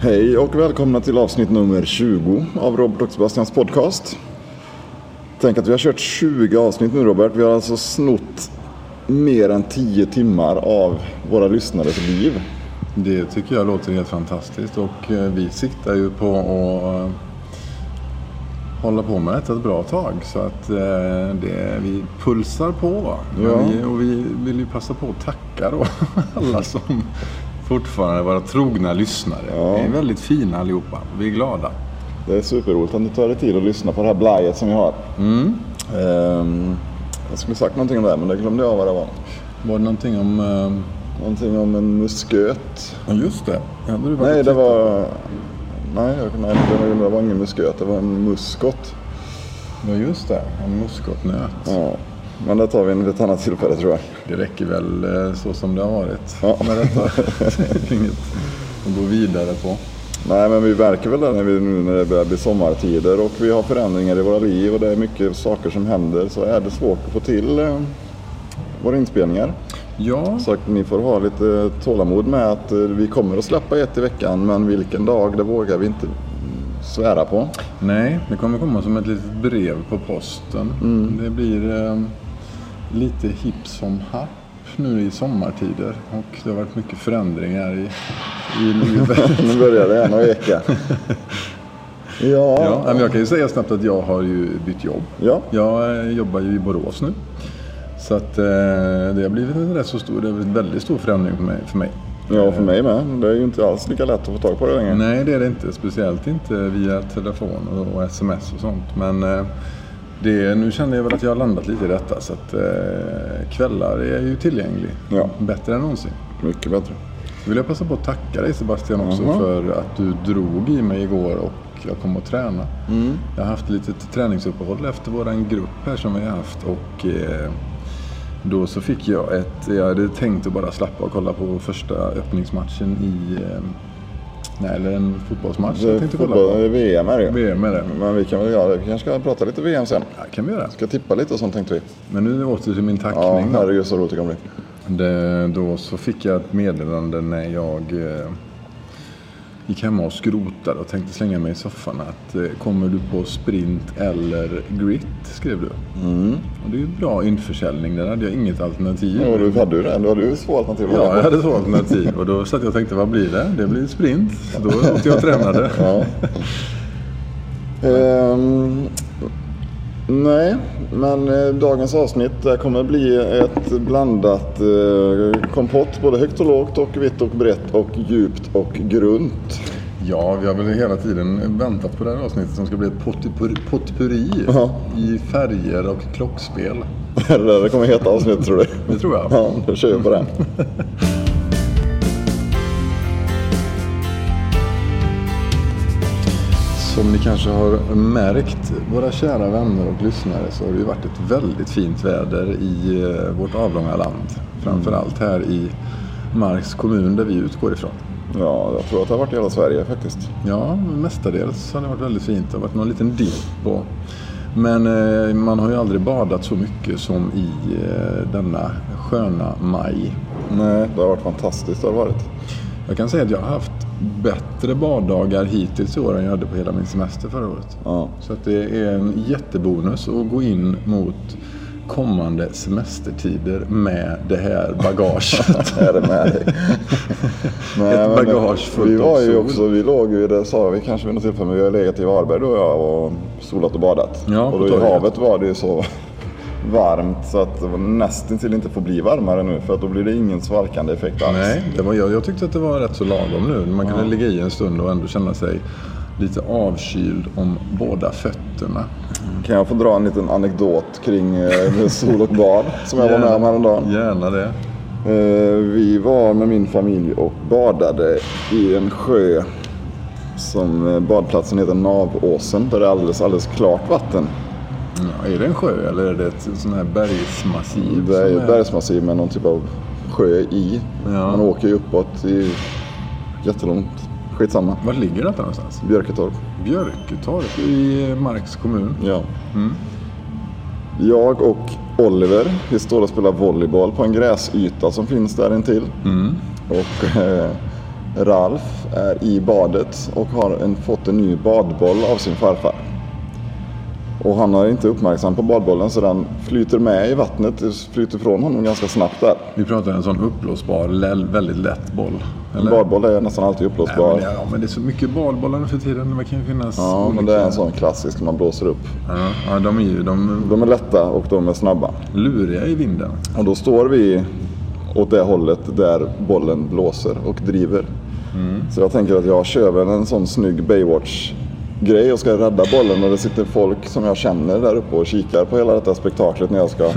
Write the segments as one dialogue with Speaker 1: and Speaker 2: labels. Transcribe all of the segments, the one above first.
Speaker 1: Hej och välkomna till avsnitt nummer 20 av Robert och Sebastians podcast. Tänk att vi har kört 20 avsnitt nu Robert. Vi har alltså snott mer än 10 timmar av våra lyssnares liv.
Speaker 2: Det tycker jag låter helt fantastiskt och eh, vi siktar ju på att eh, hålla på med detta ett bra tag. Så att eh, det, vi pulsar på. va?
Speaker 1: Ja.
Speaker 2: Vi, och vi vill ju passa på att tacka då alla som fortfarande är våra trogna lyssnare.
Speaker 1: Ja.
Speaker 2: Ni är väldigt fina allihopa. Vi är glada.
Speaker 1: Det är superroligt att ni tar er tid att lyssna på det här blajet som vi har. Ehm, jag skulle sagt någonting om det här men det glömde jag vad det var.
Speaker 2: Var det någonting om... eh,
Speaker 1: Någonting om en musköt.
Speaker 2: Ja, just det. Ja, det var
Speaker 1: Nej,
Speaker 2: lite-
Speaker 1: det var... Nej, jag- nej, det var- det var ingen musköt. Det var en muskot.
Speaker 2: Ja, just det. En muskotnöt.
Speaker 1: Ja. Men det tar vi vid ett annat tillfälle tror jag.
Speaker 2: Det räcker väl eh, så som det har varit
Speaker 1: Ja.
Speaker 2: med detta. Det är Inget att gå vidare på.
Speaker 1: Nej, men vi märker väl det när, vi, nu när det börjar bli sommartider och vi har förändringar i våra liv och det är mycket saker som händer så är det svårt att få till eh, våra inspelningar.
Speaker 2: Ja,
Speaker 1: Så att ni får ha lite tålamod med att eh, vi kommer att släppa ett i veckan men vilken dag det vågar vi inte mm, svära på.
Speaker 2: nej, det kommer komma som ett litet brev på posten. Det blir eh, lite hipp som happ nu i sommartider och det har varit mycket förändringar i, i livet.
Speaker 1: Nu börjar det än att eka.
Speaker 2: Ja,
Speaker 1: Ja,
Speaker 2: men jag kan ju säga snabbt att jag har ju bytt jobb.
Speaker 1: ja.
Speaker 2: Jag eh, jobbar ju i Borås nu. Så att eh, det har blivit en rätt så stor, det har blivit en väldigt stor förändring för mig. För mig.
Speaker 1: ja och för mig med. Det är ju inte alls lika lätt att få tag på det längre.
Speaker 2: Nej, det är det inte. Speciellt inte via telefon och, och sms och sånt. Men eh, det, nu känner jag väl att jag har landat lite i detta. Så att eh, kvällar är ju tillgänglig.
Speaker 1: Ja.
Speaker 2: Bättre än någonsin.
Speaker 1: Mycket bättre.
Speaker 2: Så vill jag passa på att tacka dig Sebastian också
Speaker 1: Jaha.
Speaker 2: för att du drog i mig igår och jag kom att träna. Jag har haft lite träningsuppehåll efter våran grupp här som vi har haft och eh, då så fick jag ett, jag hade tänkt att bara slappa och kolla på första öppningsmatchen i, eh, nej eller en fotbollsmatch
Speaker 1: Det
Speaker 2: jag
Speaker 1: är
Speaker 2: tänkte kolla på.
Speaker 1: fotboll- VM är det ju.
Speaker 2: VM är det.
Speaker 1: Men vi kan väl göra det. Vi kanske ska prata lite VM sen.
Speaker 2: Ja, kan vi göra.
Speaker 1: Ska tippa lite och sånt tänkte vi.
Speaker 2: Men nu åter till min
Speaker 1: Ja,
Speaker 2: tackning. då.
Speaker 1: herregud så roligt det kommer bli.
Speaker 2: Det, då så fick jag ett meddelande när jag eh, gick hemma och skrotade och tänkte slänga mig i soffan att eh, kommer du på sprint eller grit? skrev du.
Speaker 1: Mm.
Speaker 2: Och det är ju bra införsäljning, där hade jag inget alternativ.
Speaker 1: Ja, du hade ju det. Du hade ju två alternativ.
Speaker 2: Ja, jag hade två alternativ och då satt jag och tänkte vad blir det? Det blir sprint. Så Då åkte jag och tränade.
Speaker 1: Ja. Ehm, nej, men eh, dagens avsnitt det kommer bli ett blandat eh, kompott. Både högt och lågt och vitt och brett och djupt och grunt.
Speaker 2: Ja, vi har väl hela tiden väntat på det här avsnittet som ska bli ett potipur- potpurri
Speaker 1: Ja.
Speaker 2: i färger och klockspel.
Speaker 1: Det där det kommer heta avsnitt tror du?
Speaker 2: Det tror jag.
Speaker 1: Ja, då kör vi på det.
Speaker 2: Som ni kanske har märkt, våra kära vänner och lyssnare, så har det ju varit ett väldigt fint väder i eh, vårt avlånga land. Framförallt här i Marks kommun där vi utgår ifrån.
Speaker 1: Ja, jag tror att det har varit i hela Sverige faktiskt.
Speaker 2: Ja, mestadels har det varit väldigt fint. Det har varit någon liten dipp. Och... Men eh, man har ju aldrig badat så mycket som i eh, denna sköna maj.
Speaker 1: Nej, det har varit fantastiskt. Det har varit.
Speaker 2: Jag kan säga att jag har haft bättre baddagar hittills i år än jag hade på hela min semester förra året.
Speaker 1: Ja.
Speaker 2: Så att det är en jättebonus att gå in mot kommande semestertider med det här bagaget.
Speaker 1: är det med dig. Nej,
Speaker 2: Ett
Speaker 1: men,
Speaker 2: bagage fullt
Speaker 1: Vi var
Speaker 2: av
Speaker 1: ju
Speaker 2: sol.
Speaker 1: också, vi låg ju, det sa vi kanske vid något tillfälle, men vi har legat i Varberg då jag och solat och badat.
Speaker 2: Ja,
Speaker 1: och
Speaker 2: på
Speaker 1: då i
Speaker 2: torget.
Speaker 1: havet var det ju så varmt så att det var nästan till inte får bli varmare nu för att då blir det ingen svalkande effekt alls.
Speaker 2: Nej, det var, jag, jag tyckte att det var rätt så lagom nu. Man kunde ligga i en stund och ändå känna sig lite avkyld om båda fötterna.
Speaker 1: Kan jag få dra en liten anekdot kring eh, sol och bad som jag var med om häromdagen?
Speaker 2: Gärna det.
Speaker 1: Eh, Vi var med min familj och badade i en sjö som eh, badplatsen heter Navåsen där det är alldeles, alldeles klart vatten.
Speaker 2: Ja, är det en sjö eller är det ett sån här bergsmassiv?
Speaker 1: Det är ju
Speaker 2: som
Speaker 1: ett bergsmassiv med någon typ av sjö i.
Speaker 2: Ja.
Speaker 1: Man åker ju uppåt i jättelångt. Skitsamma.
Speaker 2: Var ligger detta någonstans?
Speaker 1: Björketorp.
Speaker 2: Björketorp i Marks kommun.
Speaker 1: Ja.
Speaker 2: Mm.
Speaker 1: Jag och Oliver, vi
Speaker 2: Mm.
Speaker 1: står och spelar volleyboll på en gräsyta som finns där intill. Och eh, Ralf är i badet och har en, fått en ny badboll av sin farfar. Och han är inte uppmärksam på badbollen så den flyter med i vattnet, flyter från honom ganska snabbt där.
Speaker 2: Vi pratar en sån uppblåsbar, lä- väldigt lätt boll.
Speaker 1: En badboll är nästan alltid
Speaker 2: Nej, Äh, men,
Speaker 1: uppblåsbar.
Speaker 2: det, ja, men det är så mycket badbollar nu för tiden. Det kan ju finnas
Speaker 1: Ja, men det är en sån klassisk man blåser upp.
Speaker 2: Ja, ja, de är ju de
Speaker 1: De är lätta och de är snabba.
Speaker 2: luriga i vinden.
Speaker 1: Och då står vi åt det hållet där bollen blåser och driver. Så jag tänker att jag kör väl en sån snygg Baywatch-grej och ska rädda bollen och det sitter folk som jag känner där uppe och kikar på hela detta spektaklet när jag ska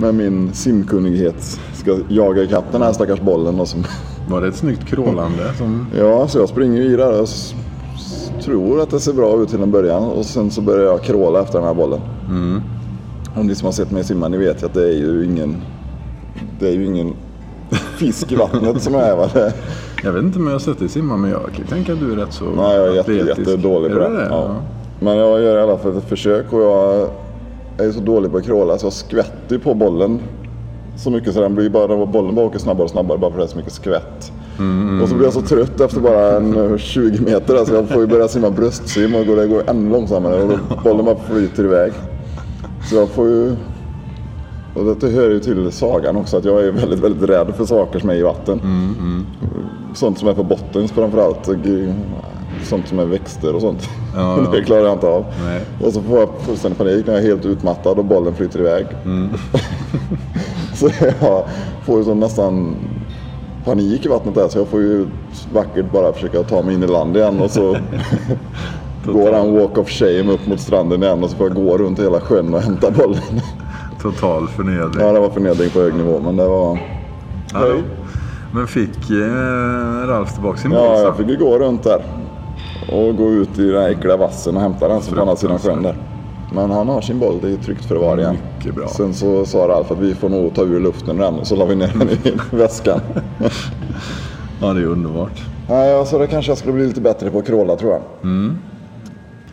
Speaker 1: med min simkunnighet ska jaga ikapp den här stackars bollen. Och som,
Speaker 2: Var det ett snyggt krålande? Som,
Speaker 1: ja, så jag springer ju i där och s- s- tror att det ser bra ut till en början och sen så börjar jag kråla efter den här bollen. Om ni som har sett mig simma, ni vet ju att det är ju ingen, det är ju ingen fisk i vattnet som jag är. Va? Det-
Speaker 2: jag vet inte om jag har sett dig simma, men jag kan tänka att du är rätt så
Speaker 1: Nej, jag är jätte,
Speaker 2: atletisk.
Speaker 1: jättedålig på
Speaker 2: Är
Speaker 1: det.
Speaker 2: du det?
Speaker 1: Ja. Men jag gör i alla fall ett försök och jag är ju så dålig på att kråla så jag skvätter ju på bollen så mycket så den blir bara, bollen bara åker snabbare och snabbare bara för det är så mycket skvätt.
Speaker 2: Mm,
Speaker 1: Och så blir jag så trött efter bara en eh, 20 meter där, så jag får ju börja simma bröstsim och går- det går ännu långsammare och då bollen bara flyter iväg. Så jag får ju... Och detta hör ju till sagan också att jag är ju väldigt, väldigt rädd för saker som är i vatten.
Speaker 2: Mm,
Speaker 1: Sånt som är på botten framförallt. och g- Sånt som är växter och sånt.
Speaker 2: Ja, ja.
Speaker 1: Det klarar jag inte av.
Speaker 2: Nej.
Speaker 1: Och så får jag fullständig panik när jag är helt utmattad och bollen flyter iväg.
Speaker 2: Mm.
Speaker 1: så jag får ju sån nästan panik i vattnet där så jag får ju vackert bara försöka ta mig in i land igen och så går han walk of shame upp mot stranden igen och så får jag gå runt hela sjön och hämta bollen.
Speaker 2: Total förnedring.
Speaker 1: ja, det var förnedring på hög nivå men det var...
Speaker 2: Ja. Men fick eh, Ralf tillbaka sin boll
Speaker 1: Ja,
Speaker 2: sen?
Speaker 1: jag fick ju gå runt där. Och gå ut i den här äckliga vassen och hämta den som på andra sidan sjön där. Men han har sin boll, det är tryggt för var igen.
Speaker 2: Mycket bra.
Speaker 1: Sen så sa Ralf att vi får nog ta ur luften ur den och så la vi ner den i väskan.
Speaker 2: Ja, det är underbart.
Speaker 1: Nej, alltså det kanske jag skulle bli lite bättre på att kråla tror jag.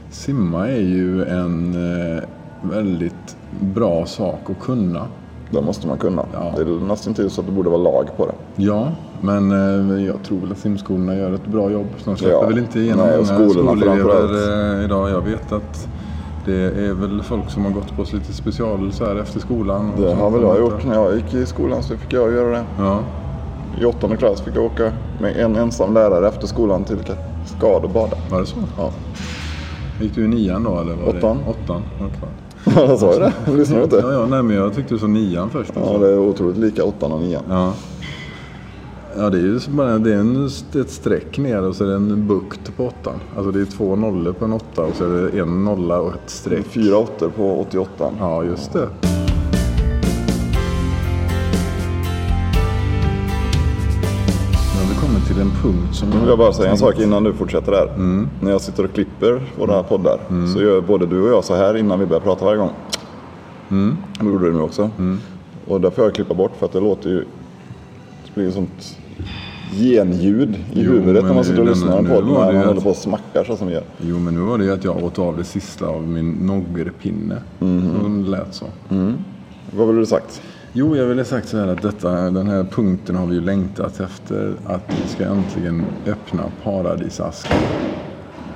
Speaker 2: Simma är ju en eh, väldigt bra sak att kunna.
Speaker 1: Det måste man kunna.
Speaker 2: Ja.
Speaker 1: Det är nästan till så att det borde vara lag på det.
Speaker 2: Ja, men eh, jag tror väl att simskolorna gör ett bra jobb. De släpper
Speaker 1: Ja.
Speaker 2: väl inte igenom
Speaker 1: Nej, och
Speaker 2: många
Speaker 1: skolorna
Speaker 2: skolelever
Speaker 1: framförallt.
Speaker 2: eh, idag. Jag vet att det är väl folk som har gått på lite special så här efter skolan. och
Speaker 1: Det
Speaker 2: sånt
Speaker 1: har väl
Speaker 2: där.
Speaker 1: jag gjort. När jag gick i skolan så fick jag göra det.
Speaker 2: Ja,
Speaker 1: I åttonde klass fick jag åka med en ensam lärare efter skolan till Kaskad och bada.
Speaker 2: var det så?
Speaker 1: Ja.
Speaker 2: Gick du i nian då eller? Var
Speaker 1: Åttan.
Speaker 2: Det? Åttan, ja, klart.
Speaker 1: Jag sa ju det. Lyssnar du inte?
Speaker 2: Ja, ja, nej men jag tyckte du sa nian först.
Speaker 1: Ja, det är otroligt lika åttan och nian.
Speaker 2: Ja. Ja, det är ju så bara det är en, ett streck ner och så är det en bukt på åttan. Alltså det är två nollor på en åtta och så är det en nolla och ett streck.
Speaker 1: Fyra åttor på 88.
Speaker 2: Ja, just det. Nu har vi kommit till en punkt som...
Speaker 1: Nu vill jag bara säga en
Speaker 2: Mm.
Speaker 1: sak innan du fortsätter där. När jag sitter och klipper våra poddar
Speaker 2: Mm.
Speaker 1: så gör både du och jag så här innan vi börjar prata varje gång.
Speaker 2: Mm.
Speaker 1: Det gjorde du nu också. Och där får jag klippa bort för att det låter ju... Det blir ju sånt genljud i huvudet när
Speaker 2: men
Speaker 1: man sitter och
Speaker 2: nu-
Speaker 1: lyssnar på en
Speaker 2: nu
Speaker 1: podd
Speaker 2: var
Speaker 1: när
Speaker 2: det ju
Speaker 1: man
Speaker 2: att-
Speaker 1: håller på och smackar så som vi gör.
Speaker 2: Jo, men nu var det ju att jag åt av det sista av min noggerpinne. Som lät så.
Speaker 1: Vad ville du sagt?
Speaker 2: Jo, jag ville sagt så här att detta, den här punkten har vi ju längtat efter. Att vi ska äntligen öppna paradisasken.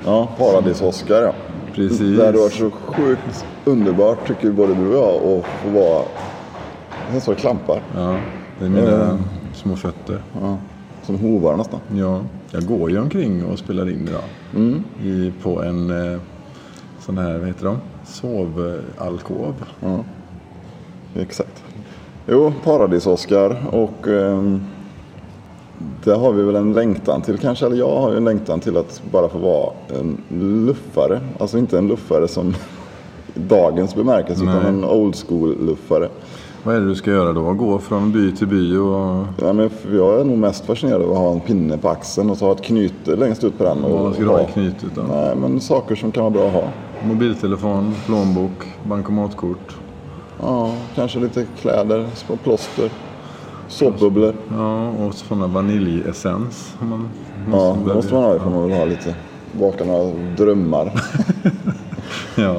Speaker 1: Ja, Paradis-Oscar ja.
Speaker 2: Precis.
Speaker 1: Det hade varit så sjukt underbart tycker både du och jag att få vara... Jag står och klampar.
Speaker 2: Ja, det är mina små fötter.
Speaker 1: Ja, som hovar nästan.
Speaker 2: Ja, jag går ju omkring och spelar in idag.
Speaker 1: Mm.
Speaker 2: I, på en eh, sån här, vad heter de? Sovalkov.
Speaker 1: Exakt. Jo, Paradis-Oscar och ehm, det har vi väl en längtan till kanske. Eller jag har ju en längtan till att bara få vara en luffare. Alltså inte en luffare som i dagens bemärkelse utan en old school-luffare.
Speaker 2: Vad är det du ska göra då? Gå från by till by och...
Speaker 1: Ja, men jag är nog mest fascinerad av att ha en pinne på axeln och så ha ett knyte längst ut på den. Och,
Speaker 2: Vad ska du ha i knytet då?
Speaker 1: Nej, men saker som kan vara bra att ha.
Speaker 2: Mobiltelefon, plånbok, bankomatkort.
Speaker 1: Ja, kanske lite kläder, små plåster, såpbubblor.
Speaker 2: Ja, och sådana vaniljessens. om Man
Speaker 1: Ja, det
Speaker 2: välja.
Speaker 1: måste man ha ifall man vill ha lite. Baka några drömmar.
Speaker 2: Ja.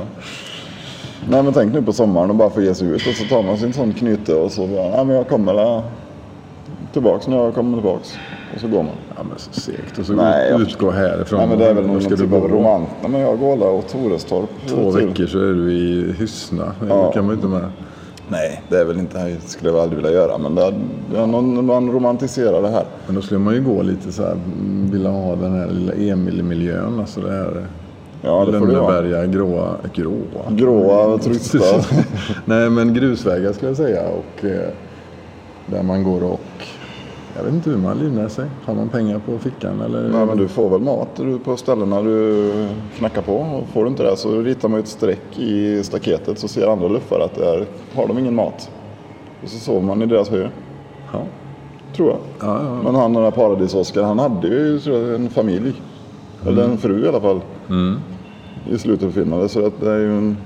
Speaker 1: Nej men tänk nu på sommaren och bara få ge sig ut och så tar man sin sån knyte och så bara, nej men jag kommer la, tillbaks när jag kommer tillbaks. Och så går man.
Speaker 2: Ja, men så segt. Och så
Speaker 1: Nej, jag-
Speaker 2: utgå härifrån.
Speaker 1: Nej men det är väl
Speaker 2: Var
Speaker 1: någon
Speaker 2: ska du
Speaker 1: typ
Speaker 2: bo?
Speaker 1: av romant. Nej, men jag går alla och Torestorp.
Speaker 2: Två
Speaker 1: till.
Speaker 2: veckor så är du i Hyssna. Det
Speaker 1: Ja.
Speaker 2: kan man ju inte med.
Speaker 1: Nej, det är väl inte, det skulle jag aldrig vilja göra. Men det är, det är någon, man romantiserar det här.
Speaker 2: Men då skulle man ju gå lite så här, mm, vilja ha den här lilla Emil-miljön. Alltså det här
Speaker 1: Ja, det får det vara.
Speaker 2: Lönneberga, gråa, gråa.
Speaker 1: Gråa, trista.
Speaker 2: Nej men grusvägar skulle jag säga och eh, där man går och jag vet inte hur man livnär sig. Har man pengar på fickan eller?
Speaker 1: Nej, men du får väl mat du, på ställena du knackar på. Och får du inte det så ritar man ju ett streck i staketet så ser andra luffare att där har de ingen mat. Och så sover man i deras hö,
Speaker 2: Ja.
Speaker 1: tror jag.
Speaker 2: Ja, ja.
Speaker 1: Men han den där paradis-Oskar, han hade ju tror jag, en familj. Eller
Speaker 2: Mm.
Speaker 1: en fru i alla fall. I slutet av filmen. Så att det är ju en,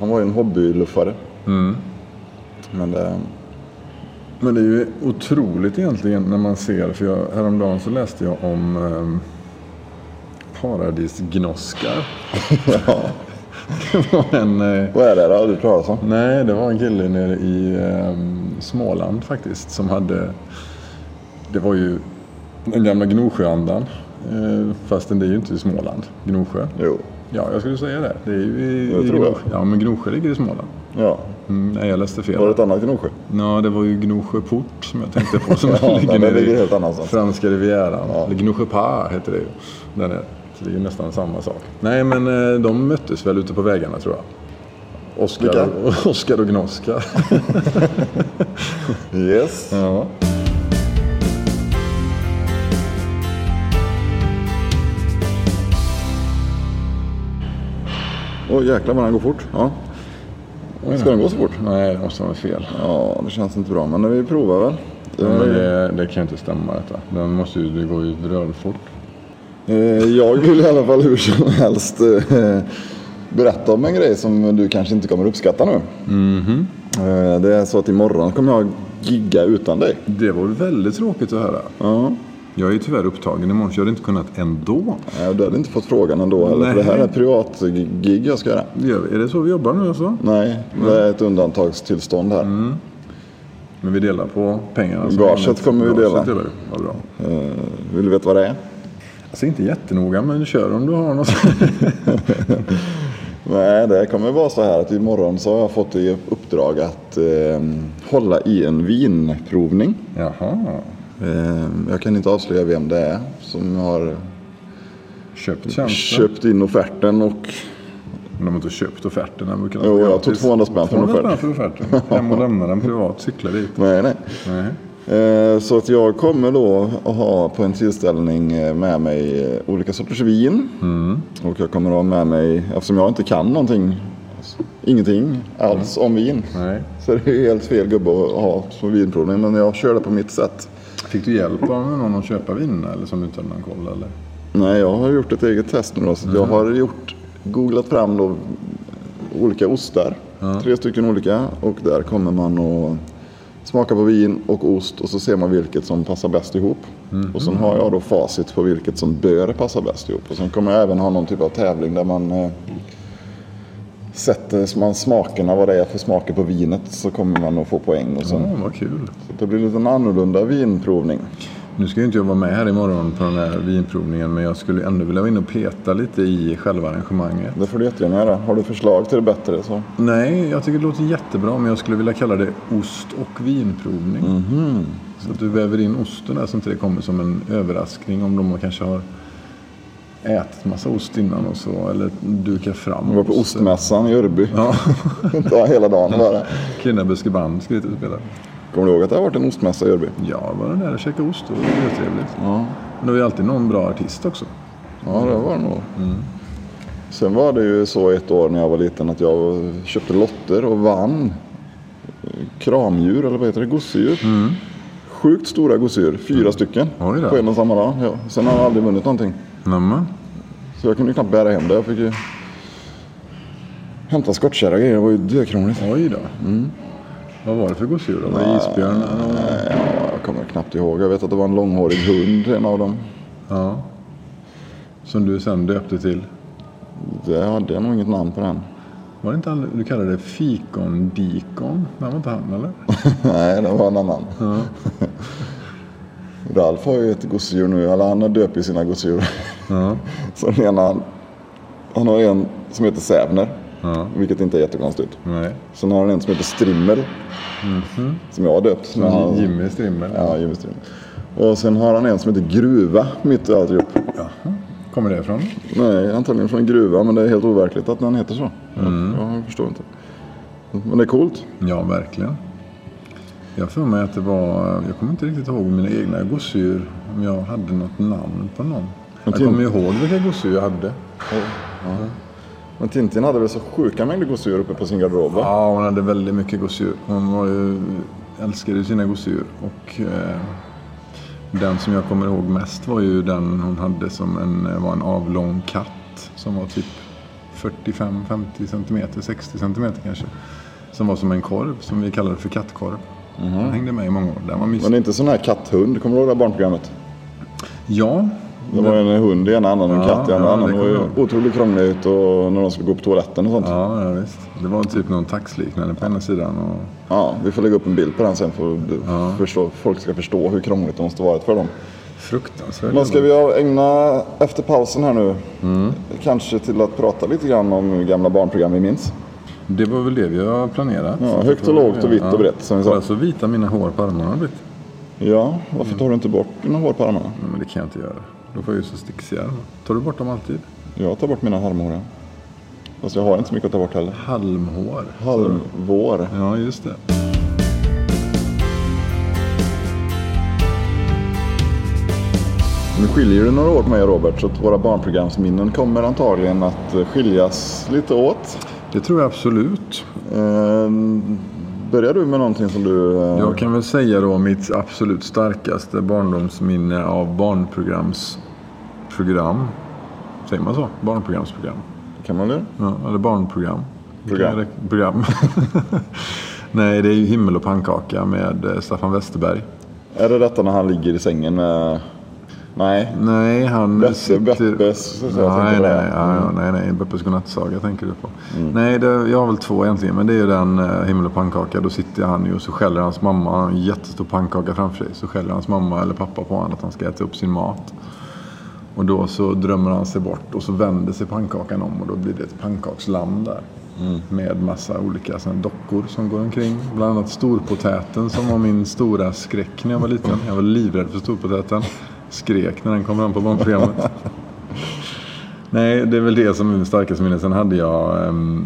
Speaker 1: han var ju en hobbyluffare.
Speaker 2: Mm.
Speaker 1: Men det,
Speaker 2: Men det är ju otroligt egentligen när man ser, för jag, häromdagen så läste jag om eh, paradisgnoskar. det var en... Eh,
Speaker 1: vad är det då? Har du hört talas om?
Speaker 2: Nej, det var en kille nere i eh, Småland faktiskt som hade... Det var ju den gamla Gnosjöandan. Eh, fastän det är ju inte i Småland, Gnosjö.
Speaker 1: Jo.
Speaker 2: Ja, jag skulle säga det. Det är ju i,
Speaker 1: Jag
Speaker 2: i
Speaker 1: tror jag.
Speaker 2: Gnosjö. Ja, men Gnosjö ligger i Småland.
Speaker 1: Ja.
Speaker 2: Mm, nej, jag läste fel.
Speaker 1: Var det ett annat Gnosjö?
Speaker 2: Ja, det var ju Gnosjöport som jag tänkte på som
Speaker 1: Ja,
Speaker 2: ligger
Speaker 1: men det
Speaker 2: nere
Speaker 1: ligger
Speaker 2: i
Speaker 1: helt annanstans.
Speaker 2: franska rivieran. Eller Gnosjöpa heter det ju. Den är, så det är ju nästan samma sak. Nej, men eh, de möttes väl ute på vägarna tror jag. Oskar, Oskar och Gnoska.
Speaker 1: Yes.
Speaker 2: Ja.
Speaker 1: Åh jäklar vad den går fort. Ja. Ska den gå så fort?
Speaker 2: Nej, det måste vara fel.
Speaker 1: Ja, det känns inte bra, men vi provar väl.
Speaker 2: Men det, det kan ju inte stämma detta. Den måste ju, det går ju rörfort.
Speaker 1: Eh, Jag vill i alla fall hur som helst eh, berätta om en grej som du kanske inte kommer uppskatta nu.
Speaker 2: Mhm.
Speaker 1: Eh, Det är så att imorgon kommer jag gigga utan dig.
Speaker 2: Det var väldigt tråkigt att höra.
Speaker 1: Ja.
Speaker 2: Jag är ju tyvärr upptagen imorgon så jag hade inte kunnat ändå.
Speaker 1: Eh, Du hade inte fått frågan ändå heller, för det
Speaker 2: Nej.
Speaker 1: här är privatgig jag ska göra.
Speaker 2: Gör- Är det så vi jobbar nu alltså?
Speaker 1: Nej, det är ett undantagstillstånd här.
Speaker 2: Mm. Men vi delar på pengarna. som
Speaker 1: Gaget
Speaker 2: vanligt.
Speaker 1: kommer vi
Speaker 2: Gaget
Speaker 1: dela.
Speaker 2: delar vi. Vad bra.
Speaker 1: Eh, Vill du veta vad det är?
Speaker 2: Alltså inte jättenoga, men kör om du har något.
Speaker 1: Nej, det kommer vara så här att imorgon så har jag fått i uppdrag att eh, hålla i en vinprovning.
Speaker 2: Jaha.
Speaker 1: Eh, jag kan inte avslöja vem det är som har
Speaker 2: Köpt tjänsten.
Speaker 1: köpt in offerten och
Speaker 2: Men de har inte köpt offerten än. Jo,
Speaker 1: Jo, jag tog 200 spänn för en
Speaker 2: 200 spänn
Speaker 1: offert.
Speaker 2: för offerten. Hem och lämna den privat, cykla dit.
Speaker 1: Nej, nej.
Speaker 2: Nej.
Speaker 1: Eh, Så att jag kommer då att ha på en tillställning eh, med mig eh, olika sorters vin. Och jag kommer att ha med mig, eftersom jag inte kan någonting, alltså, ingenting alls om vin.
Speaker 2: Nej.
Speaker 1: Så det är ju helt fel gubbe att ha som vinprovning, men jag kör det på mitt sätt.
Speaker 2: Fick du hjälp av någon att köpa vin eller som du inte hade någon koll eller?
Speaker 1: Nej, jag har gjort ett eget test nu då, så att jag har gjort, googlat fram då olika ostar. Tre stycken olika och där kommer man att smaka på vin och ost och så ser man vilket som passar bäst ihop. Och sen har jag då facit på vilket som bör passa bäst ihop. Och sen kommer jag även ha någon typ av tävling där man eh, sätter man smakerna, vad det är för smaker på vinet så kommer man att få poäng. Och sen,
Speaker 2: Åh, Mm, vad kul.
Speaker 1: så det blir lite en annorlunda vinprovning.
Speaker 2: Nu ska ju inte jag vara med här imorgon på den här vinprovningen men jag skulle ändå vilja vara inne och peta lite i själva arrangemanget.
Speaker 1: Det får du jättegärna göra. Har du förslag till det bättre så
Speaker 2: Nej, jag tycker det låter jättebra men jag skulle vilja kalla det ost och vinprovning.
Speaker 1: Mm-hmm.
Speaker 2: Så att du väver in osten där så inte det kommer som en överraskning om de kanske har ätit massa ost innan och så eller dukar fram.
Speaker 1: Vi var på
Speaker 2: osten.
Speaker 1: ostmässan i Örby.
Speaker 2: Ja,
Speaker 1: Ja. Hela dagen bara.
Speaker 2: Kinnaböske band ska vi ut och spela.
Speaker 1: Kommer du ihåg att det har varit en ostmässa i Örby?
Speaker 2: Ja, var den där och käkade ost, det var trevligt.
Speaker 1: Ja.
Speaker 2: Men det var ju alltid någon bra artist också.
Speaker 1: Ja, det var det nog. Sen var det ju så ett år när jag var liten att jag köpte lotter och vann eh, kramdjur, eller vad heter det, gosedjur. Sjukt stora gosedjur, fyra stycken
Speaker 2: Oj då.
Speaker 1: på en och samma dag. Ja. Sen har jag aldrig vunnit någonting.
Speaker 2: Nämen.
Speaker 1: Så jag kunde ju knappt bära hem det. Jag fick ju hämta skottkärra och grejer, det var ju dökrångligt.
Speaker 2: Oj då. Mm. Vad var det för gosedjur då? Var det isbjörn? eller-
Speaker 1: Ja, jag kommer knappt ihåg. Jag vet att det var en långhårig hund, en av dem.
Speaker 2: Ja. Som du sen döpte till?
Speaker 1: Det hade jag nog inget namn på den.
Speaker 2: Var det inte han du kallade det fikondikon? Nej, var inte han eller?
Speaker 1: Nej, det var en annan. Ralf har ju ett gosedjur nu, eller han har döpt ju sina gosedjur.
Speaker 2: Ja.
Speaker 1: Så den ena, han, han har en som heter Sävner,
Speaker 2: Ja.
Speaker 1: vilket inte är jättekonstigt.
Speaker 2: Nej.
Speaker 1: Sen har han en som heter Strimmel,
Speaker 2: Mhm.
Speaker 1: som jag har döpt. Men han-
Speaker 2: Jimmy Strimmel.
Speaker 1: Ja, Jimmy Strimmel. Och sen har han en som heter Gruva, mitt i alltihop.
Speaker 2: Jaha. Kommer det ifrån?
Speaker 1: Nej, antagligen från en gruva, men det är helt overkligt att den heter så.
Speaker 2: Mm.
Speaker 1: Jag, jag förstår inte. Men det är coolt.
Speaker 2: Ja, verkligen. Jag har för mig att det var... Jag kommer inte riktigt ihåg mina egna gosedjur. Om jag hade något namn på någon. Jag
Speaker 1: Tim-
Speaker 2: kommer ihåg vilka gosedjur jag hade.
Speaker 1: Men Tintin hade väl så sjuka mängder gosedjur uppe på sin garderob? va?
Speaker 2: Ja, hon hade väldigt mycket gosedjur. Hon var ju, älskade sina gosedjur. Och eh, den som jag kommer ihåg mest var ju den hon hade som en, var en avlång katt. Som var typ 45-50 centimeter, 60 centimeter kanske. Som var som en korv, som vi kallade för kattkorv. Den hängde med i många år. Den var
Speaker 1: Mhm.
Speaker 2: mysig.
Speaker 1: Men det är inte sån här katthund, kommer du ihåg det här barnprogrammet?
Speaker 2: Ja,
Speaker 1: Det var en hund i ena handen och en
Speaker 2: Ja,
Speaker 1: katt i andra
Speaker 2: ja,
Speaker 1: handen.
Speaker 2: det
Speaker 1: Det var ju
Speaker 2: kommer jag
Speaker 1: otroligt krångligt och när de skulle gå på toaletten och sånt. Ja.
Speaker 2: ja, ja visst. Det var typ någon taxliknande på ena sidan. Och,
Speaker 1: vi får lägga upp en bild på den sen för att förstå, folk ska förstå hur krångligt det måste varit för dem.
Speaker 2: fruktansvärt.
Speaker 1: Men ska vi ägna, efter pausen här nu,
Speaker 2: Mm.
Speaker 1: kanske till att prata lite grann om hur gamla barnprogram vi minns.
Speaker 2: Det var väl det vi har planerat.
Speaker 1: Ja, högt och lågt och vitt och brett, som vi sa.
Speaker 2: Kolla så vita mina hår på armarna har blivit.
Speaker 1: Ja, varför tar du inte bort dina hår på armarna?
Speaker 2: Nej, men det kan jag inte göra. Då får jag ju så stixiga armar. Tar du bort dem alltid?
Speaker 1: Jag tar bort mina halmhår. ja. Fast jag har inte så mycket att ta bort heller.
Speaker 2: Halmhår.
Speaker 1: Halmvår.
Speaker 2: Ja, just det.
Speaker 1: Nu skiljer det några år på mig och Robert så att våra barnprogramsminnen kommer antagligen att eh, skiljas lite åt.
Speaker 2: Det tror jag absolut.
Speaker 1: Eh, börjar du med någonting som du... Eh,
Speaker 2: Jag kan väl säga då mitt absolut starkaste barndomsminne av barnprogramsprogram. Säger man så? Barnprogramsprogram?
Speaker 1: Kan man det?
Speaker 2: Ja, eller barnprogram.
Speaker 1: Program.
Speaker 2: Vilka- Program. Nej, det är ju Himmel och pannkaka med eh, Staffan Westerberg.
Speaker 1: Är det detta när han ligger i sängen med... Nej.
Speaker 2: Nej, han...
Speaker 1: Beppe- Beppes, så jag tänker
Speaker 2: nej,
Speaker 1: på det. Mm.
Speaker 2: nej, ja, ja, nej, nej, Beppes godnattsaga tänker du på. Nej, det, jag har väl två egentligen. Men det är ju den eh, Himmel och pannkaka. Då sitter han ju och så skäller hans mamma. Han har en jättestor pannkaka framför sig. Så skäller hans mamma eller pappa på honom att han ska äta upp sin mat. Och då så drömmer han sig bort och så vänder sig pannkakan om och då blir det ett pannkaksland där. Med massa olika såna dockor som går omkring. Bland annat storpotäten som var min stora skräck när jag var liten. Jag var livrädd för storpotäten. Skrek när den kom fram på barnprogrammet. Nej, det är väl det som är min starkaste minne. Sen hade jag, ehm,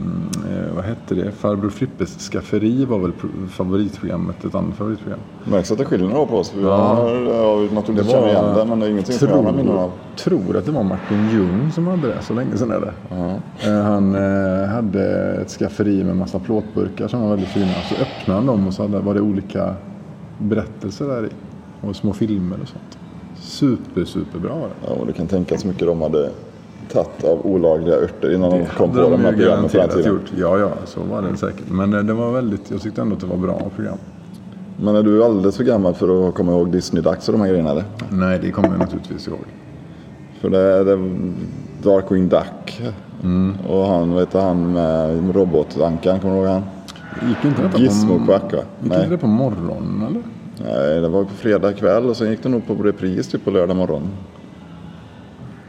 Speaker 2: eh, vad hette det, Farbror Frippes skafferi var väl pro- favoritprogrammet, ett annat favoritprogram.
Speaker 1: Märks att det skiljer några år på oss. Vi har, ja, naturligtvis känner igen den men det är ingenting som jag har minnen av.
Speaker 2: tror, tror att det var Martin Ljung som hade det, så länge sedan är det. Eh, Han eh, hade ett skafferi med massa plåtburkar som var väldigt fina. Så öppnade han dem och så hade, var det olika berättelser där i. Och små filmer och sånt. Super, superbra var det.
Speaker 1: Ja, och du kan tänka så mycket de hade tagit av olagliga örter innan de kom på
Speaker 2: hade
Speaker 1: de här
Speaker 2: ju
Speaker 1: programmen på den
Speaker 2: garanterat
Speaker 1: tiden.
Speaker 2: gjort. Ja, ja, så var det säkert. Men eh, det var väldigt, jag tyckte ändå att det var bra program.
Speaker 1: Men är du alldeles för gammal för att komma ihåg Disney-dags och de här grejerna eller?
Speaker 2: Nej, det kommer jag naturligtvis ihåg.
Speaker 1: För det är det är Darkwing Duck.
Speaker 2: Mm.
Speaker 1: Och han, vet du, han med robotankan, kommer du ihåg han?
Speaker 2: Gick inte detta
Speaker 1: Gizmo
Speaker 2: på,
Speaker 1: Quack va?
Speaker 2: gick inte
Speaker 1: Nej.
Speaker 2: det på morgonen eller?
Speaker 1: Nej, det var på fredag kväll och sen gick det nog på repris typ på lördag morgon.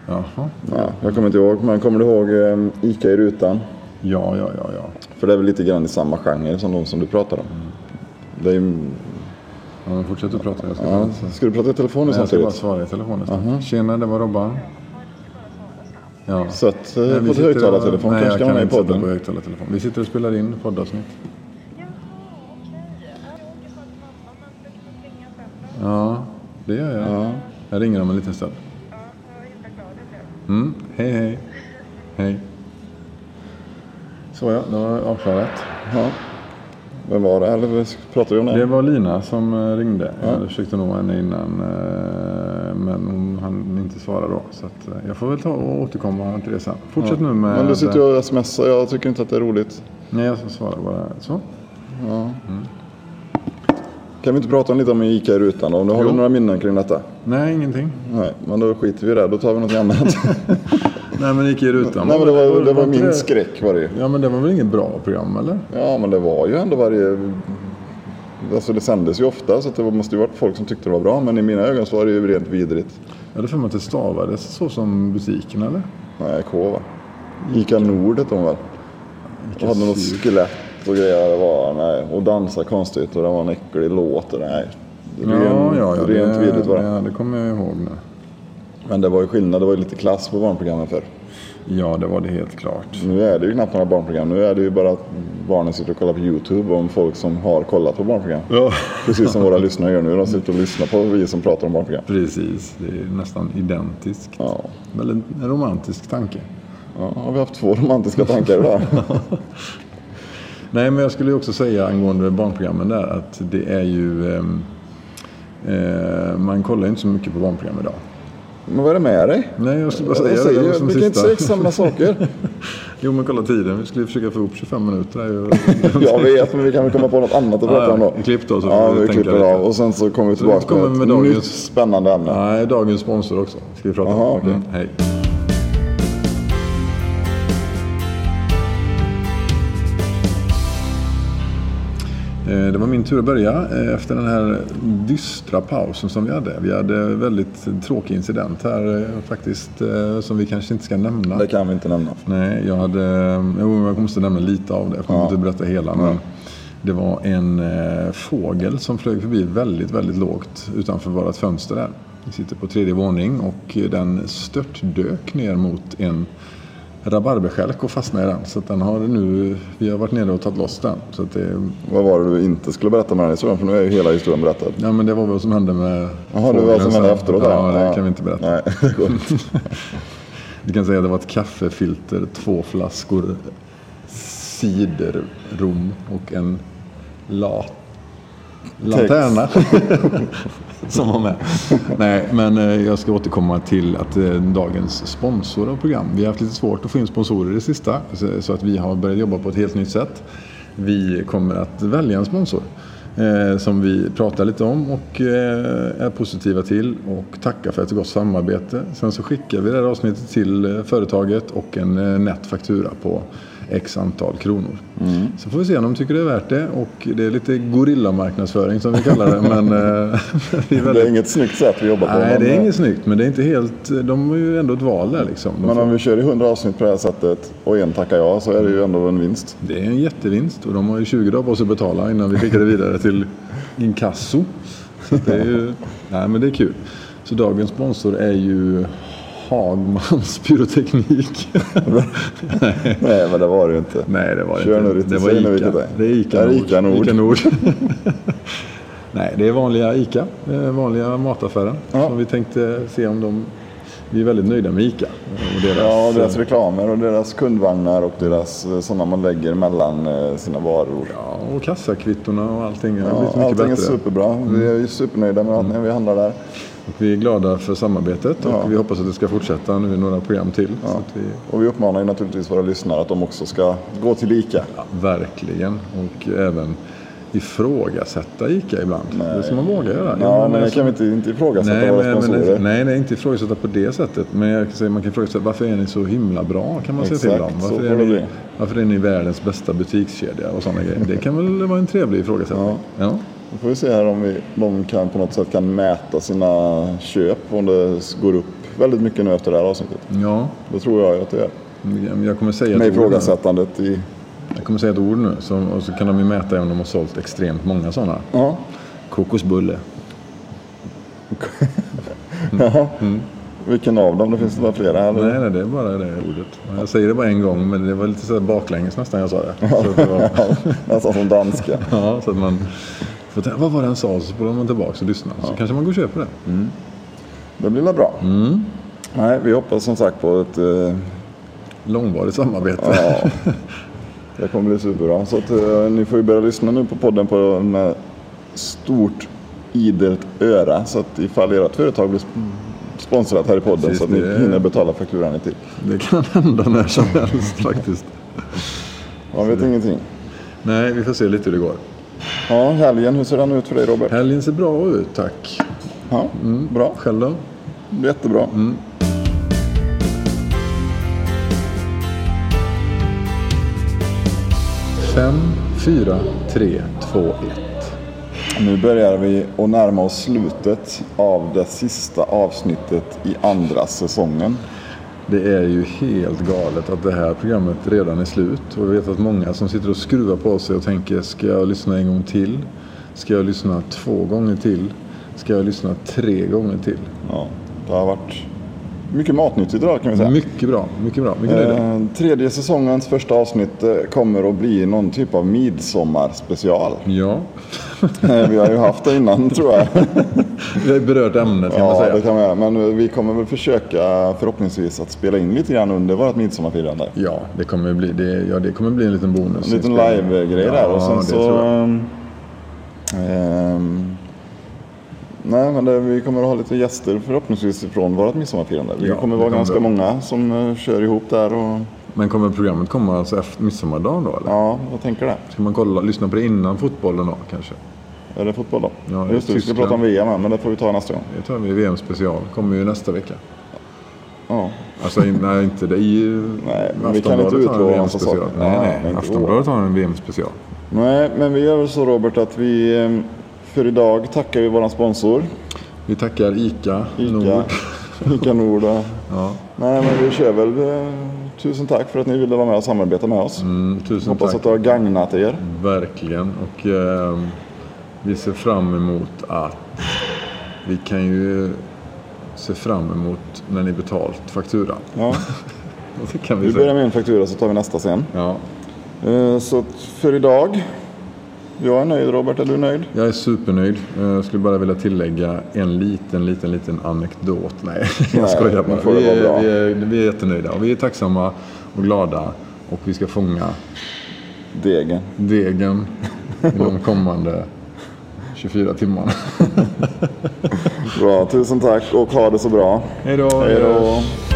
Speaker 2: Jaha.
Speaker 1: Ja, jag kommer inte ihåg, men kommer du ihåg eh, Ica i rutan?
Speaker 2: Ja, ja, ja, ja.
Speaker 1: För det är väl lite grann i samma genre som de som du pratar om. Det är, ju-
Speaker 2: Ja, men fortsätt att prata. Jag ska,
Speaker 1: ja,
Speaker 2: bara,
Speaker 1: ska du prata i telefon nu
Speaker 2: jag ska bara
Speaker 1: samtidigt?
Speaker 2: svara i telefonen. Uh-huh. Tjena, det var Robban. Ja.
Speaker 1: Så att eh,
Speaker 2: vi
Speaker 1: på ett
Speaker 2: sitter och-
Speaker 1: högtalartelefon
Speaker 2: Nej,
Speaker 1: kanske
Speaker 2: jag
Speaker 1: kan vara med i
Speaker 2: inte sätta På
Speaker 1: podden.
Speaker 2: högtalartelefon. Vi sitter och spelar in poddavsnitt. Ja, det gör jag. Jag ringer om en liten stund. Mm. Hej, hej. Hej. Så ja, det var avklarat.
Speaker 1: Ja. Vem var det? Eller pratar vi om
Speaker 2: Det
Speaker 1: det?
Speaker 2: var Lina som eh, ringde. Jag försökte nå henne innan eh, men hon hann inte svara då. Så att eh, jag får väl ta och återkomma till det sen. Fortsätt nu med...
Speaker 1: Men du sitter ju och smsar, jag tycker inte att det är roligt.
Speaker 2: Nej, jag ska svara bara så.
Speaker 1: Kan vi inte prata lite om Ica i rutan då? Om du har du några minnen kring detta?
Speaker 2: Nej, ingenting.
Speaker 1: Nej, men då skiter vi i det. Då tar vi något annat.
Speaker 2: Nej, men det gick i rutan.
Speaker 1: Nej, men det var, det var
Speaker 2: inte
Speaker 1: min skräck var det ju.
Speaker 2: Ja, men det var väl inget bra program, eller?
Speaker 1: Ja, men det var ju ändå varje alltså det sändes ju ofta så att det var- måste ju varit folk som tyckte det var bra. Men i mina ögon så var det ju rent vidrigt.
Speaker 2: Jag hade för mig att det stavades så som butiken eller?
Speaker 1: Nej, K va? Ica Nord hette hon väl? Och hade något
Speaker 2: sur.
Speaker 1: skelett och grejer. Det var, nej. Och dansa konstigt och det var en äcklig låt. och Nej. Ren, rent vidrigt var det.
Speaker 2: ja, det kommer jag ihåg nu.
Speaker 1: Men det var ju skillnad. Det var ju lite klass på barnprogrammen förr.
Speaker 2: Ja, det var det helt klart.
Speaker 1: Nu är det ju knappt några barnprogram. Nu är det ju bara att barnen sitter och kollar på YouTube om folk som har kollat på barnprogram.
Speaker 2: Ja.
Speaker 1: Precis som våra lyssnare gör nu. De sitter och lyssnar på vi som pratar om barnprogram.
Speaker 2: Precis, det är nästan identiskt.
Speaker 1: Ja.
Speaker 2: Väl en en romantisk tanke.
Speaker 1: Ja, har vi haft två romantiska tankar idag?
Speaker 2: Nej, men jag skulle ju också säga angående barnprogrammen där att det är ju... ehm, Eh, man kollar ju inte så mycket på barnprogram idag.
Speaker 1: Men vad är det med dig?
Speaker 2: Nej, jag skulle bara
Speaker 1: Jag
Speaker 2: säga det.
Speaker 1: säger,
Speaker 2: det. var
Speaker 1: ju-
Speaker 2: som
Speaker 1: vi kan inte
Speaker 2: sista.
Speaker 1: säga samma saker.
Speaker 2: Jo, men kolla tiden. Vi skulle försöka få ihop 25 minuter. här ju.
Speaker 1: Jag vet, men vi kan väl komma på något annat att
Speaker 2: Ja,
Speaker 1: prata
Speaker 2: ja.
Speaker 1: om då.
Speaker 2: Klipp då, så får
Speaker 1: ja,
Speaker 2: vi
Speaker 1: vi
Speaker 2: tänka
Speaker 1: klipper
Speaker 2: lite.
Speaker 1: av och sen så kommer vi
Speaker 2: vi
Speaker 1: tillbaka
Speaker 2: kommer
Speaker 1: med ett
Speaker 2: med dagens-
Speaker 1: nytt spännande ämne.
Speaker 2: Nej, dagens sponsor också. Ska vi prata
Speaker 1: Jaha,
Speaker 2: om.
Speaker 1: okej.
Speaker 2: Mm, Hej. Eh, Det var min tur att börja eh, efter den här dystra pausen som vi hade. Vi hade en väldigt tråkig incident här eh, faktiskt eh, som vi kanske inte ska nämna.
Speaker 1: Det kan vi inte nämna.
Speaker 2: Nej, jag hade... Jo, jag kommer att nämna lite av det. Jag kommer
Speaker 1: Ja.
Speaker 2: inte att berätta hela. Men det var en eh, fågel som flög förbi väldigt, väldigt lågt utanför vårt fönster där. Vi sitter på tredje våning och eh, den störtdök ner mot en rabarberstjälk och fastnade i den. Så att den har nu... Vi har varit nere och tagit loss den. Så att det,
Speaker 1: Vad var det du inte skulle berätta med den historien? För nu är ju hela historien berättad.
Speaker 2: ja, men det var vad som hände med
Speaker 1: Jaha, det var vad som
Speaker 2: sen.
Speaker 1: hände efteråt?
Speaker 2: Ja, det kan vi inte berätta.
Speaker 1: Nej, det går inte.
Speaker 2: Vi kan säga att det var ett kaffefilter, två flaskor ciderrom och en la... lanterna som var med. Nej, men eh, jag ska återkomma till att eh, dagens sponsor av program. Vi har haft lite svårt att få in sponsorer i det sista så- så att vi har börjat jobba på ett helt nytt sätt. Vi kommer att välja en sponsor eh, som vi pratar lite om och eh, är positiva till och tackar för ett gott samarbete. Sen så skickar vi det här avsnittet till eh, företaget och en eh, nätt faktura på x antal kronor. Så får vi se om de tycker det är värt det och det är lite gorillamarknadsföring som vi kallar det men eh, vi är
Speaker 1: Det
Speaker 2: väldigt
Speaker 1: är inget snyggt sätt vi jobbar på.
Speaker 2: Nej,
Speaker 1: men, eh,
Speaker 2: det är inget snyggt, men det är inte helt... De har ju ändå ett val där liksom. De
Speaker 1: men
Speaker 2: får,
Speaker 1: om vi kör i 100 avsnitt på det här sättet och en tackar ja så är det ju ändå en vinst.
Speaker 2: det är en jättevinst och de har ju 20 dagar på sig att betala innan vi skickar det vidare till inkasso. Så att det är ju... Nej, men det är kul. Så dagens sponsor är ju Hagmans pyroteknik.
Speaker 1: Nej, men det var det ju inte.
Speaker 2: Nej, det var det
Speaker 1: Kör
Speaker 2: inte.
Speaker 1: nu lite,
Speaker 2: det var
Speaker 1: säg nu
Speaker 2: Ica.
Speaker 1: vilket det är.
Speaker 2: Det är
Speaker 1: Det
Speaker 2: Ica
Speaker 1: är
Speaker 2: Nord.
Speaker 1: Ica Nord.
Speaker 2: Nej, det är vanliga Ica. eh, Vanliga mataffären.
Speaker 1: Ja.
Speaker 2: Som vi tänkte se om de... Vi är väldigt nöjda med Ica. Och deras,
Speaker 1: Ja, deras reklamer och deras kundvagnar och deras eh, sådana man lägger mellan eh, sina varor.
Speaker 2: Ja, och kassakvittona och allting. Det har
Speaker 1: Ja,
Speaker 2: blivit mycket
Speaker 1: allting är
Speaker 2: bättre. Mm.
Speaker 1: superbra. Vi är ju supernöjda med allting vi handlar där.
Speaker 2: Och vi är glada för samarbetet och
Speaker 1: Ja.
Speaker 2: vi hoppas att det ska fortsätta nu i några program till. Så att vi,
Speaker 1: Och vi uppmanar ju naturligtvis våra lyssnare att de också ska gå till Ica.
Speaker 2: ja, verkligen. Och även ifrågasätta ICA ibland. Det ska man våga göra. Jo,
Speaker 1: Ja, men det
Speaker 2: alltså-
Speaker 1: kan vi inte, inte ifrågasätta
Speaker 2: Nej,
Speaker 1: våra
Speaker 2: men,
Speaker 1: sponsorer.
Speaker 2: men, nej, nej, inte ifrågasätta på det sättet. Men jag kan säga, man kan ifrågasätta varför är ni så himla bra? Kan man säga till
Speaker 1: Exakt,
Speaker 2: dem.
Speaker 1: så
Speaker 2: Varför
Speaker 1: får
Speaker 2: är,
Speaker 1: det
Speaker 2: ni,
Speaker 1: bli.
Speaker 2: varför är ni världens bästa butikskedja och sådana grejer? Det kan väl vara en trevlig ifrågasättning. Ja.
Speaker 1: Då får vi se här om vi, de kan på något sätt kan mäta sina köp. Om det går upp väldigt mycket nu efter det här avsnittet.
Speaker 2: Ja.
Speaker 1: Det tror jag ju att det gör.
Speaker 2: Jag kommer säga
Speaker 1: Med
Speaker 2: ett ord nu.
Speaker 1: ifrågasättandet i...
Speaker 2: Jag kommer säga ett ord nu så, och så kan de ju mäta om de har sålt extremt många sådana.
Speaker 1: Ja.
Speaker 2: Kokosbulle.
Speaker 1: Mm. Vilken av dem? Det finns några flera här. eller?
Speaker 2: Nej, nej, det är bara det ordet. Jag säger det bara en gång men det var lite så här baklänges nästan jag sa det. Så att det var,
Speaker 1: Ja, Nästan som danska.
Speaker 2: ja, så att man får tänka, vad var det han sa? Så spolar man tillbaka och lyssnar. Så kanske man går och köper det.
Speaker 1: Det blir väl bra.
Speaker 2: Mm.
Speaker 1: Nej, vi hoppas som sagt på ett... Eh,
Speaker 2: Långvarigt samarbete.
Speaker 1: ja, det kommer bli superbra. Så att, eh, ni får ju börja lyssna nu på podden på, med stort idelt öra. Så att ifall ert företag blir sp- sponsrat här i podden
Speaker 2: Precis,
Speaker 1: så att ni
Speaker 2: det är-
Speaker 1: hinner betala fakturan i tid.
Speaker 2: Det kan hända när som helst faktiskt.
Speaker 1: Man vet ingenting.
Speaker 2: Nej, vi får se lite hur det går.
Speaker 1: Ja, helgen, hur ser den ut för dig Robert?
Speaker 2: Helgen ser bra ut, tack.
Speaker 1: Ja, bra.
Speaker 2: Själv då?
Speaker 1: Jättebra.
Speaker 2: Fem, fyra, tre, två, ett.
Speaker 1: Nu börjar vi att närma oss slutet av det sista avsnittet i andra säsongen.
Speaker 2: Det är ju helt galet att det här programmet redan är slut. Och jag vet att många som sitter och skruvar på sig och tänker, ska jag lyssna en gång till? Ska jag lyssna två gånger till? Ska jag lyssna tre gånger till?
Speaker 1: Ja, det har varit mycket matnyttigt idag kan vi säga.
Speaker 2: Mycket bra, mycket bra. Mycket nöjd.
Speaker 1: Eh, Tredje säsongens första avsnitt eh, kommer att bli någon typ av midsommarspecial.
Speaker 2: Ja,
Speaker 1: Eh, Vi har ju haft det innan tror jag.
Speaker 2: vi har ju berört ämnet kan man
Speaker 1: Ja,
Speaker 2: säga.
Speaker 1: det kan man göra. Men eh, vi kommer väl försöka förhoppningsvis att spela in lite grann under vårt midsommarfirande.
Speaker 2: Ja, det kommer bli, det, ja, det kommer bli en liten bonus.
Speaker 1: En liten live-grej
Speaker 2: ja,
Speaker 1: där och sen
Speaker 2: det
Speaker 1: så...
Speaker 2: tror jag.
Speaker 1: ehm, nej, men det, vi kommer att ha lite gäster förhoppningsvis från vårt midsommarfirande. Vi
Speaker 2: Ja,
Speaker 1: kommer
Speaker 2: det
Speaker 1: vara
Speaker 2: kommer
Speaker 1: ganska
Speaker 2: det.
Speaker 1: många som eh, kör ihop där och...
Speaker 2: Men kommer programmet komma alltså efter midsommardagen då eller?
Speaker 1: Ja, jag tänker det.
Speaker 2: Ska man kolla, lyssna på det innan fotbollen då kanske?
Speaker 1: Är det fotboll då?
Speaker 2: Ja,
Speaker 1: Just det, vi ska
Speaker 2: Tyskland.
Speaker 1: prata om VM här, men det får vi ta nästa gång.
Speaker 2: Det tar vi VM special, kommer ju nästa vecka.
Speaker 1: Ja.
Speaker 2: Alltså in- nej, inte det. I,
Speaker 1: Nej, men vi kan
Speaker 2: Aftonbladet
Speaker 1: inte
Speaker 2: har en
Speaker 1: utlova
Speaker 2: VM
Speaker 1: massa
Speaker 2: special.
Speaker 1: saker.
Speaker 2: Nej,
Speaker 1: Ja,
Speaker 2: nej.
Speaker 1: men-
Speaker 2: Aftonbladet har en VM special.
Speaker 1: Nej, men vi gör väl så Robert att vi eh, för idag tackar vi våran sponsor.
Speaker 2: Vi tackar ICA,
Speaker 1: Ica,
Speaker 2: Nord.
Speaker 1: Ica Nord. och-
Speaker 2: Ja.
Speaker 1: Nej, men vi kör väl. eh, Tusen tack för att ni ville vara med och samarbeta med oss.
Speaker 2: Mm, tusen
Speaker 1: Hoppas
Speaker 2: tack.
Speaker 1: att det har gagnat er.
Speaker 2: Verkligen. Och ehm, vi ser fram emot att vi kan ju se fram emot när ni betalt fakturan.
Speaker 1: Ja,
Speaker 2: Det kan vi
Speaker 1: vi börjar
Speaker 2: säga.
Speaker 1: med en faktura så tar vi nästa sen.
Speaker 2: Ja,
Speaker 1: Eh, Så att för idag. Jag är nöjd Robert, är du nöjd?
Speaker 2: jag är supernöjd. Eh, Jag skulle bara vilja tillägga en liten, liten, liten anekdot. Nej,
Speaker 1: Nej,
Speaker 2: jag skojar bara.
Speaker 1: nu får det
Speaker 2: Vi
Speaker 1: vara bra.
Speaker 2: är, vi, är, vi är jättenöjda och vi är tacksamma och glada. Och vi ska fånga
Speaker 1: Degen.
Speaker 2: degen i de kommande 24 timmarna.
Speaker 1: Bra, tusen tack och ha det så bra.
Speaker 2: Hej då!
Speaker 1: Hej då.